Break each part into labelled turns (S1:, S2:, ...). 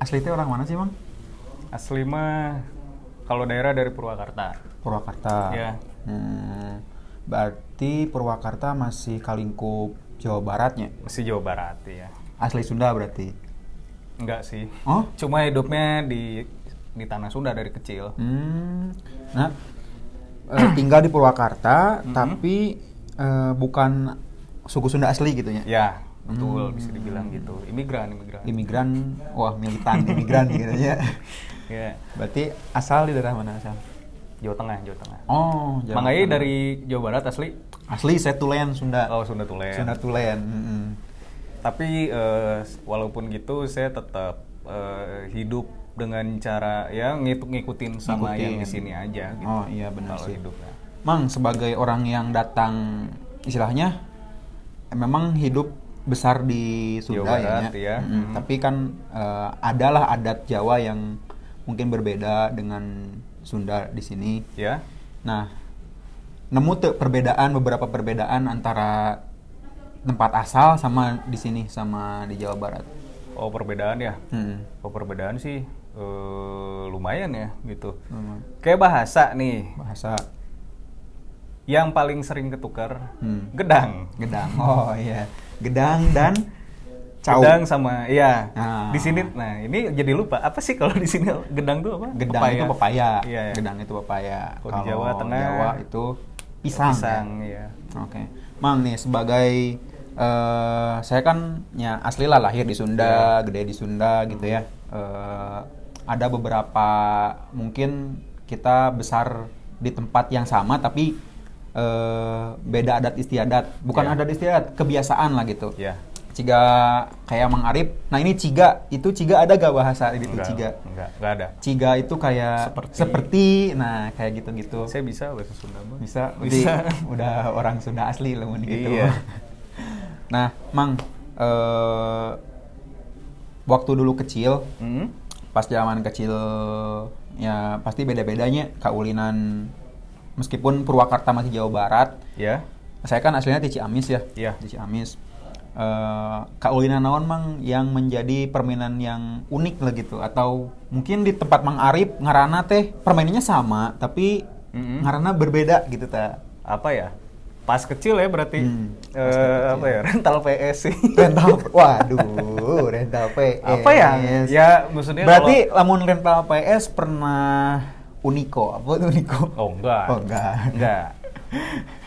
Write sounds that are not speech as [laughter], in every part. S1: asli orang mana sih bang?
S2: Ya, Asli mah kalau daerah dari Purwakarta.
S1: Purwakarta.
S2: Iya.
S1: Hmm, berarti Purwakarta masih kalingkup Jawa Baratnya.
S2: Masih Jawa Barat ya.
S1: Iya. Asli Sunda berarti.
S2: Enggak sih.
S1: Oh?
S2: Cuma hidupnya di di tanah Sunda dari kecil.
S1: Hmm. Nah, eh, [clears throat] tinggal di Purwakarta tapi eh, bukan suku Sunda asli gitu ya.
S2: Ya, betul bisa dibilang gitu. Imigran, imigran.
S1: Imigran, wah militan imigran gitu ya. [laughs]
S2: Ya.
S1: Berarti asal di daerah mana asal?
S2: Jawa Tengah, Jawa Tengah.
S1: Oh, Jawa
S2: Mang Ai
S1: Tengah.
S2: dari Jawa Barat asli.
S1: asli saya Tulen Sunda.
S2: Oh, Sunda Tulen.
S1: Sunda Tulen. mm-mm.
S2: Tapi eh, walaupun gitu saya tetap eh, hidup dengan cara ya ngikut ngikutin sama
S1: Ngikutin.
S2: yang di sini aja gitu.
S1: Oh iya benar
S2: Kalau
S1: sih.
S2: hidupnya.
S1: Mang sebagai orang yang datang istilahnya eh, memang hidup besar di Sunda
S2: Jawa
S1: ya,
S2: Barat,
S1: Nya.
S2: ya.
S1: Mm-mm.
S2: Mhm.
S1: Tapi kan eh, adalah adat Jawa yang mungkin berbeda dengan Sunda di sini.
S2: Ya.
S1: Nah, nemu tuh perbedaan beberapa perbedaan antara tempat asal sama di sini sama di Jawa Barat. Hmm,
S2: Oh, perbedaan ya.
S1: Mm-mm.
S2: Oh, perbedaan sih eh, lumayan ya gitu.
S1: Lumayan.
S2: Kayak bahasa nih,
S1: Bahasa
S2: yang paling sering ketukar
S1: Hmm.
S2: gedang.
S1: gedang. Oh iya, gedang dan cau.
S2: Gedang sama iya.
S1: Ah.
S2: Di sini nah ini jadi lupa apa sih kalau di sini gedang tuh apa?
S1: Gedang itu pepaya.
S2: Iya. iya.
S1: Gedang itu pepaya.
S2: Kalau di Jawa Tengah,
S1: Jawa itu pisang.
S2: Pisang
S1: kan?
S2: iya.
S1: Oke. Mang nih sebagai eh saya kan ya asli lah lahir di Sunda,
S2: Iya.
S1: gede di Sunda gitu ya. Eh, ada beberapa mungkin kita besar di tempat yang sama tapi eh beda adat istiadat. Bukan
S2: Iya.
S1: adat istiadat, kebiasaan lah gitu.
S2: Iya.
S1: Ciga kayak Mang Arif. Nah ini ciga, itu ciga ada gak bahasa itu
S2: Enggak,
S1: ciga?
S2: Enggak, enggak ada.
S1: Ciga itu kayak
S2: Seperti.
S1: seperti, nah kayak gitu-gitu.
S2: Saya bisa bahasa Sunda, Bang.
S1: Bisa,
S2: Bisa.
S1: berarti [laughs] udah orang Sunda asli lah mun gitu.
S2: Iya.
S1: [laughs] nah, Mang, eh, waktu dulu kecil,
S2: Hmm?
S1: pas zaman kecil ya pasti beda-bedanya kaulinan meskipun Purwakarta masih Jawa Barat,
S2: Ya.
S1: saya kan aslinya di Ciamis ya.
S2: Iya.
S1: Di Ciamis. Eh, kaulinan naon Mang yang menjadi permainan yang unik lah gitu atau mungkin di tempat Mang Arif ngarana teh permainannya sama tapi
S2: Mm-mm.
S1: ngarana berbeda gitu ta.
S2: Apa ya? Pas kecil ya berarti
S1: Hmm,
S2: eh,
S1: pas kecil.
S2: apa ya? [laughs] Rental PS sih.
S1: Rental waduh, rental PS.
S2: Apa ya? Ya, maksudnya
S1: Berarti lamun rental PS pernah Uniko, apa itu Uniko?
S2: Oh, enggak.
S1: Oh, enggak.
S2: Enggak.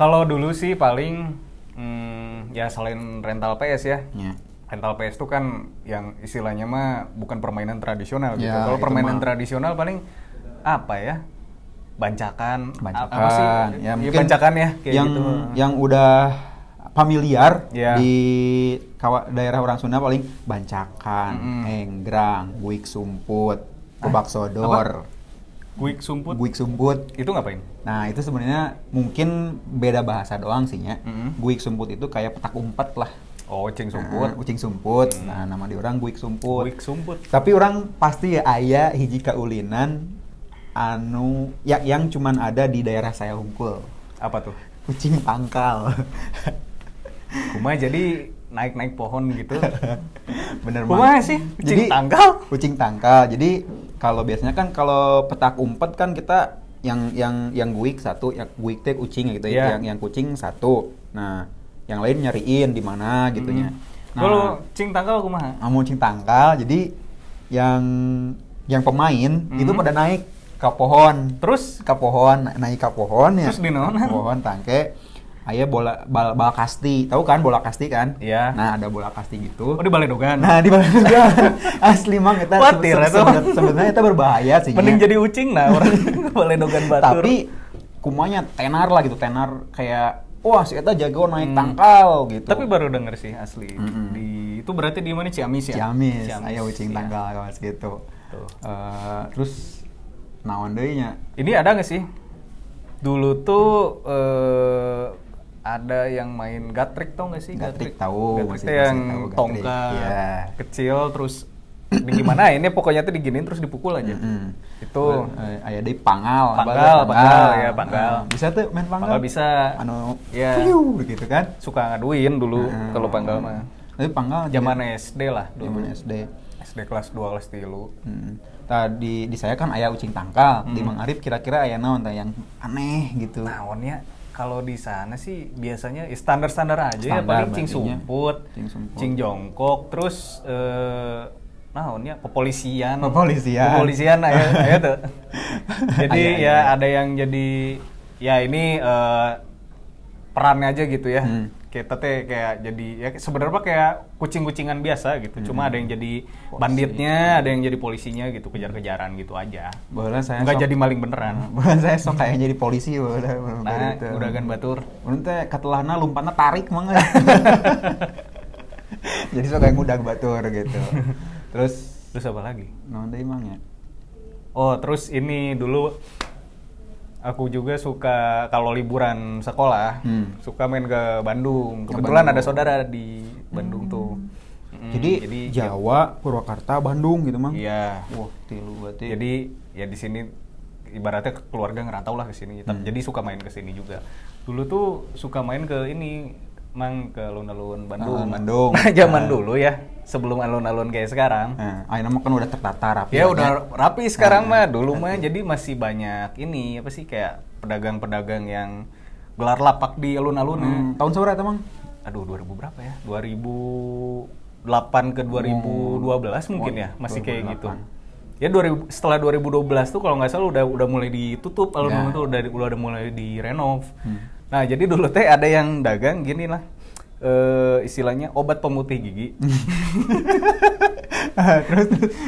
S2: Kalau dulu sih paling hmm, ya selain rental PS ya.
S1: Ya.
S2: Rental PS itu kan yang istilahnya mah bukan permainan tradisional gitu.
S1: Ya,
S2: Kalau
S1: itu
S2: permainan
S1: mah.
S2: tradisional paling apa ya? Bancakan, a-
S1: bancakan
S2: apa sih?
S1: ya
S2: Iya,
S1: mungkin
S2: bancakan ya kayak
S1: yang
S2: gitu.
S1: yang udah familiar
S2: Ya.
S1: di kawa- daerah orang Sunda paling bancakan,
S2: Mm-mm.
S1: enggrang, buik sumput, kebak sodor,
S2: Guik sumput.
S1: buik sumput.
S2: Itu ngapain?
S1: Nah itu sebenarnya mungkin beda bahasa doang sih ya.
S2: Mm-mm.
S1: Guik sumput itu kayak petak umpet lah.
S2: Oh, cing
S1: Sumput,
S2: sumput.
S1: kucing sumput.
S2: Mm.
S1: Nah nama di orang guik sumput.
S2: Guik sumput.
S1: Tapi orang pasti ya ayah hiji kaulinan anu ya, yang cuman ada di daerah saya hungkul.
S2: Apa tuh?
S1: Kucing pangkal.
S2: Kuma jadi naik-naik pohon
S1: [laughs]
S2: gitu.
S1: [laughs] Bener
S2: Kumaha
S1: banget.
S2: sih? Kucing tangkal?
S1: Kucing tangkal. Jadi kalau biasanya kan kalau petak umpet kan kita yang yang yang guik satu, yang guik teh kucing gitu
S2: Iya.
S1: ya. Yang yang kucing satu. Nah, yang lain nyariin di mana [laughs] gitunya. Nah,
S2: Hmm. Kalau cing tangkal kumaha?
S1: amun kucing tangkal jadi yang yang pemain itu
S2: Hmm.
S1: pada naik ke pohon.
S2: Terus
S1: ke pohon na- naik ke pohon ya
S2: Terus dinaonan?
S1: Ke pohon tangke ayah bola bal, bal kasti tahu kan bola kasti kan
S2: Iya.
S1: nah ada bola kasti gitu
S2: oh di balai dogan.
S1: nah di bawah juga [laughs] asli mang kita
S2: Khawatir
S1: sebe-
S2: itu.
S1: sebe- sebenarnya itu berbahaya sih
S2: Mending
S1: ya.
S2: jadi ucing nah orang [laughs] boleh dogan batur.
S1: tapi kumanya tenar lah gitu tenar kayak wah si eta jago naik tangkal gitu
S2: Hmm. tapi baru denger sih asli.
S1: Mm-mm.
S2: Di itu berarti di mana Ciamis ya?
S1: Ciamis, ayo ucing
S2: ya.
S1: tangkal kawas gitu
S2: Tuh.
S1: Eh, terus naon deui nya
S2: Ini ada nggak sih? Dulu tuh eh, ada yang main gatrik tau nggak sih?
S1: Gatrik tahu,
S2: Gatrik
S1: masih-
S2: tuh
S1: masih
S2: yang
S1: tahu gatrik,
S2: tongkat
S1: iya.
S2: kecil terus digimana ini pokoknya tuh diginiin terus dipukul aja.
S1: Mm-mm.
S2: Itu
S1: Eh, aya deui pangal
S2: Panggal,
S1: bala-
S2: panggal, ya, panggal.
S1: Eh, bisa tuh main panggal
S2: Panggal bisa.
S1: anu
S2: Ya.
S1: piu, gitu kan Ah.
S2: suka ngaduin dulu kalau panggal mah.
S1: tapi
S2: Ah.
S1: panggal
S2: Zaman SD lah dulu.
S1: zaman SD
S2: SD kelas 2 kelas 3.
S1: Hmm. Tadi di saya kan ayah ucing tangkal,
S2: Hmm.
S1: di Mang Arif kira-kira ayah naon tah yang aneh gitu.
S2: Naonnya kalau di sana sih biasanya ya standar-standar aja ya paling
S1: Standar
S2: cing
S1: baginya.
S2: sumput,
S1: Cing sumput.
S2: cing jongkok, terus eh naonnya kepolisian.
S1: Kepolisian. Iya,
S2: Kepolisian aya aya
S1: [laughs]
S2: tuh. Jadi
S1: Aya,
S2: ya
S1: aya.
S2: ada yang jadi ya ini eh, perannya aja gitu ya.
S1: Hmm.
S2: Kita teh kayak jadi ya sebenarnya mah kayak kucing-kucingan biasa gitu.
S1: Hmm.
S2: Cuma ada yang jadi banditnya, ada yang jadi polisinya gitu, kejar-kejaran gitu aja.
S1: Bahwa saya
S2: Nggak
S1: sok-
S2: jadi maling
S1: [laughs]
S2: beneran.
S1: Bahwa saya sok kayak jadi polisi bahwa
S2: Nah,
S1: gitu.
S2: udah kan batur.
S1: Menurut teh katelahna lumpana tarik mangga.
S2: [laughs]
S1: Jadi sok kayak ngudag batur
S2: [laughs]
S1: gitu. Terus
S2: Terus apa lagi?
S1: naon tadi mang ya?
S2: Oh, terus ini dulu aku juga suka kalau liburan sekolah,
S1: Hmm.
S2: suka main ke Bandung.
S1: Ke
S2: Kebetulan
S1: Bandung.
S2: ada
S1: Hmm.
S2: saudara di Bandung tuh. Mm,
S1: jadi, Jawa, Purwakarta, Bandung gitu mang.
S2: Iya.
S1: Wah, tilu berarti.
S2: Jadi ya di sini ibaratnya keluarga ngerantau lah ke sini. Tapi
S1: Hmm.
S2: Jadi suka main ke sini juga. Dulu tuh suka main ke ini mang ke alun-alun Bandung.
S1: Ah, Bandung.
S2: Nah, [laughs] zaman
S1: Ah.
S2: dulu ya, sebelum alun-alun kayak sekarang.
S1: Nah, ayeuna mah kan udah tertata rapi.
S2: Ya
S1: banyak.
S2: udah rapi sekarang
S1: Nah,
S2: mah. Dulu mah jadi masih banyak ini apa sih kayak pedagang-pedagang yang gelar lapak di alun-alun. ya.
S1: Hmm, tahun seberapa mang?
S2: Aduh 2000 berapa ya? 2008
S1: Hmm,
S2: ke 2012 mungkin ya, masih kayak gitu. Ya
S1: 2008.
S2: 2000 setelah 2012 tuh kalau nggak salah udah udah mulai ditutup alun-alun
S1: Ya.
S2: tuh udah udah mulai direnov.
S1: Hmm.
S2: Nah, jadi dulu teh ada yang dagang gini lah. Eh, istilahnya obat pemutih gigi.
S1: [laughs] terus terus.
S2: [laughs]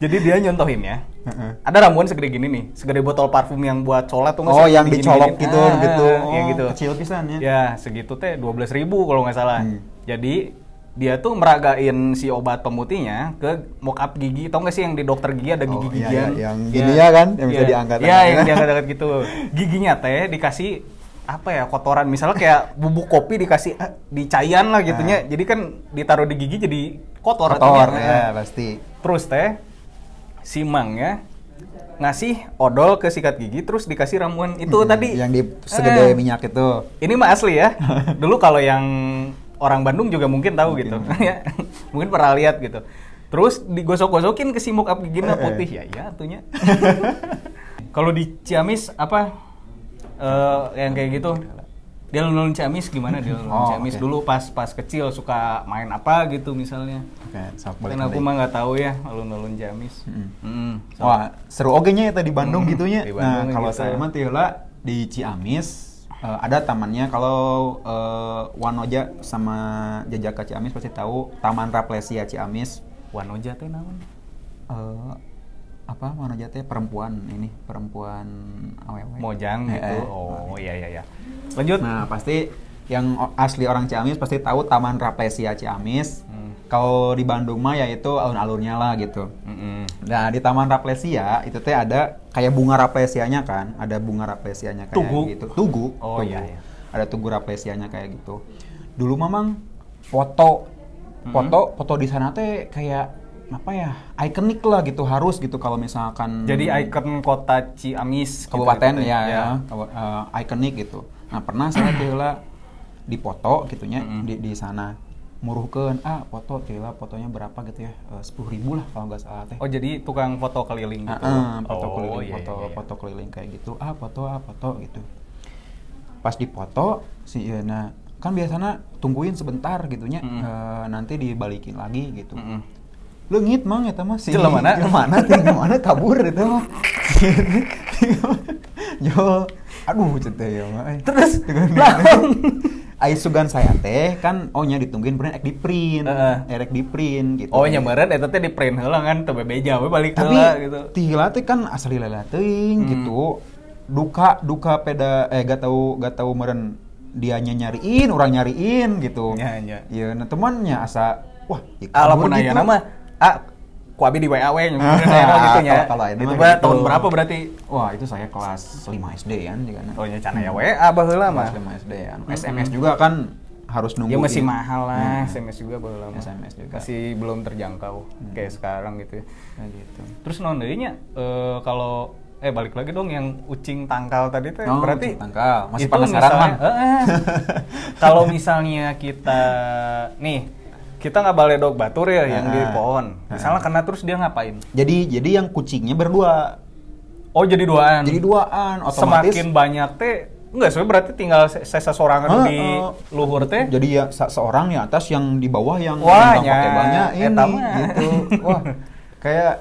S2: Jadi dia nyontohin ya.
S1: Heeh.
S2: Ada ramuan segede gini nih, segede botol parfum yang buat colat tuh nggak
S1: Oh,
S2: sih?
S1: yang
S2: Gini-gini.
S1: dicolok gitu, gitu.
S2: ya
S1: Oh,
S2: gitu.
S1: kecil pisan ya.
S2: Ya, segitu teh 12.000 ribu kalau nggak salah.
S1: Hmm.
S2: Jadi dia tuh meragain si obat pemutihnya ke mockup gigi, tau nggak sih yang di dokter gigi ada
S1: Oh,
S2: gigi
S1: iya,
S2: gigian?
S1: iya, yang gini ya kan, yang bisa
S2: Iya.
S1: diangkat. ya.
S2: Iya, yang diangkat-angkat gitu. Giginya teh dikasih apa ya kotoran misalnya kayak bubuk kopi dikasih dicayan lah gitunya. Jadi kan ditaruh di gigi jadi kotor.
S1: Ah. Kotor
S2: artinya. Nah,
S1: ya pasti.
S2: Terus teh si Mangnya ngasih odol ke sikat gigi terus dikasih ramuan itu
S1: Hmm,
S2: tadi.
S1: yang di segede
S2: Eh,
S1: minyak itu.
S2: Ini mah asli
S1: [laughs]
S2: ya. Dulu kalau yang orang Bandung juga mungkin tahu gitu. [laughs] Ya, mungkin pernah lihat gitu. Terus digosok-gosokin ke si mukap giginya
S1: Eh, eh.
S2: putih ya, ya atunya. [laughs] kalau di Ciamis apa eh, yang kayak gitu? Di alun-alun Ciamis gimana di alun-alun
S1: Oh,
S2: Ciamis
S1: oke.
S2: dulu pas pas kecil suka main apa gitu misalnya?
S1: Oke, sok balik
S2: Karena aku
S1: lagi.
S2: mah nggak tahu ya alun-alun Ciamis.
S1: Mm-mm.
S2: Mm-mm. So-
S1: Wah, seru oge nya eta di Bandung
S2: Hmm,
S1: gitunya.
S2: di
S1: Nah,
S2: Bandung
S1: kalau
S2: gitu.
S1: saya mah teu heula di Ciamis eh, ada tamannya kalau eh, Wanoja sama Jajaka Ciamis pasti tahu Taman Raplesia Ciamis.
S2: Wanoja teh naon?
S1: Eh, apa Wanoja teh perempuan ini, perempuan awewe.
S2: Mojang
S1: Eh,
S2: gitu.
S1: eh.
S2: Oh iya iya iya. Lanjut.
S1: Nah, pasti yang o- asli orang Ciamis pasti tahu Taman Raplesia Ciamis.
S2: Hmm.
S1: Kalau di Bandung mah yaitu alun-alunnya lah gitu.
S2: Mm-mm.
S1: Nah, di Taman Raplesia itu teh ada kayak bunga raplesianya kan, ada bunga raplesianya kayak
S2: Tugu.
S1: gitu. Tugu.
S2: Oh,
S1: tugu.
S2: iya, iya.
S1: Ada tugu raplesianya kayak gitu. Dulu memang foto
S2: Hmm.
S1: foto foto di sana teh kayak apa ya? Ikonik lah gitu harus gitu kalau misalkan
S2: Jadi ikon kota Ciamis gitu,
S1: kabupaten
S2: gitu,
S1: ya, ya. kabu- eh, ikonik gitu. Nah, pernah
S2: [clears throat]
S1: saya tihula dipoto gitunya
S2: Mm-mm.
S1: di di sana muruhkeun ah foto tihula fotonya berapa gitu ya sepuluh ribu lah kalau nggak salah teh
S2: Oh jadi tukang foto keliling gitu.
S1: Ah, ah, foto
S2: oh,
S1: keliling,
S2: iya,
S1: foto,
S2: iya, iya.
S1: foto keliling kayak gitu. Ah, foto, ah, foto gitu. Pas dipoto si Iena kan biasanya tungguin sebentar gitunya,
S2: Mm.
S1: eh, nanti dibalikin lagi gitu.
S2: Mm-mm.
S1: Lengit mang eta mah si
S2: Jelemana.
S1: [laughs] jelemana teh mana kabur eta mah. [laughs] Yo, aduh cete ya mah. [laughs]
S2: Terus,
S1: kan Ai sugan saya teh kan ohnya ditungguin bener ek di print,
S2: Heeh.
S1: erek di print Eh, gitu.
S2: [laughs] Oh nyambaran eta teh di print heula kan teu bebeja we balik
S1: tapi
S2: heula gitu.
S1: tihila teh kan asli lela teuing
S2: Hmm.
S1: gitu duka duka peda eh gak tahu gak tahu meren dianya nyariin orang nyariin gitu
S2: Nya, nya.
S1: iya nah temannya asa wah ya
S2: Alamun
S1: kabur
S2: aya
S1: gitu.
S2: nama ah ku abi di WA we
S1: Ah, [laughs]
S2: nyambaran aya nama gitu nya.
S1: kalau- kalau aya nama
S2: Itu mah
S1: gitu.
S2: tahun berapa berarti?
S1: wah itu saya kelas 5 SD kan juga nah.
S2: Oh nya can aya WA baheula mah.
S1: kelas 5 SD kan
S2: Mm-mm.
S1: SMS juga kan harus nunggu Nah, Hmm.
S2: Ya Hmm. masih mahal lah, SMS juga baru lama.
S1: SMS juga. Hmm.
S2: Masih belum terjangkau kayak sekarang gitu ya.
S1: gitu
S2: Terus non deui nya eh, kalau eh balik lagi dong yang ucing tangkal tadi teh
S1: Oh,
S2: berarti
S1: ucing tangkal.
S2: itu
S1: Masih penasaran,
S2: misalnya-
S1: Bang?
S2: Eh, eh. kalau misalnya kita nih kita nggak baledog batur ya yang di
S1: Ah.
S2: pohon. Misalnya kena terus dia ngapain?
S1: Jadi jadi yang kucingnya berdua.
S2: Oh jadi duaan.
S1: Jadi duaan otomatis.
S2: Semakin banyak teh Enggak, sebenarnya berarti tinggal se- sesa sorangan
S1: Ah,
S2: di
S1: ah.
S2: luhur teh.
S1: Jadi ya se- seorang yang atas yang di bawah yang
S2: Wah,
S1: yang pakai
S2: nya,
S1: banyak ini
S2: eta mah.
S1: gitu. Wah, kayak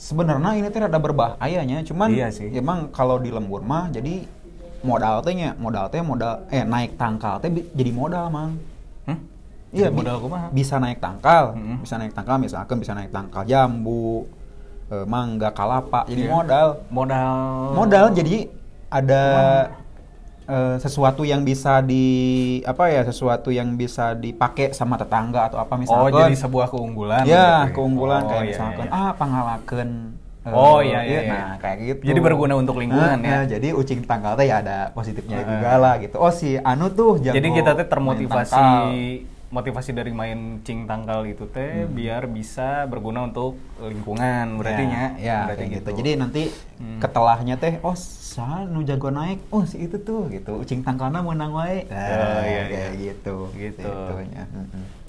S1: sebenarnya ini teh rada berbahayanya, cuman
S2: Iya sih.
S1: emang kalau di lembur mah jadi modal teh nya, modal teh modal eh naik tangkal teh bi- jadi modal, Mang.
S2: Hmm? Jadi
S1: Iya, bi-
S2: modal kumaha? Mm-hmm.
S1: bisa naik tangkal,
S2: Mm-mm.
S1: bisa naik tangkal misalkan bisa naik tangkal jambu, eh, mangga, kalapa,
S2: Iya.
S1: jadi
S2: Oh.
S1: modal.
S2: Modal
S1: Modal jadi ada eh, sesuatu yang bisa di apa ya, sesuatu yang bisa dipakai sama tetangga atau apa
S2: Oh,
S1: misalkan.
S2: jadi sebuah keunggulan.
S1: ya,
S2: gitu.
S1: keunggulan
S2: Oh,
S1: kayak
S2: iya,
S1: misalkan
S2: iya.
S1: ah pangalakeun eh,
S2: Oh, iya, iya, iya.
S1: Nah, kayak gitu.
S2: Jadi berguna untuk lingkungan,
S1: Nah,
S2: ya.
S1: nah, jadi ucing tangkal teh ya ada positifnya
S2: Heeh.
S1: juga lah gitu. Oh, si anu tuh jago
S2: Jadi kita teh
S1: main
S2: termotivasi
S1: tangkal.
S2: motivasi dari main cing tangkal itu teh biar bisa berguna untuk lingkungan berarti
S1: Hmm. ya,
S2: nya.
S1: ya
S2: berarti
S1: kayak gitu. jadi nanti
S2: Hmm.
S1: ketelahnya teh oh sah nu jago naik oh si itu tuh gitu ucing tangkana menang wae nah,
S2: iya,
S1: kayak
S2: iya.
S1: gitu
S2: Gitu.
S1: Gitu-gitunya. Mm-mm.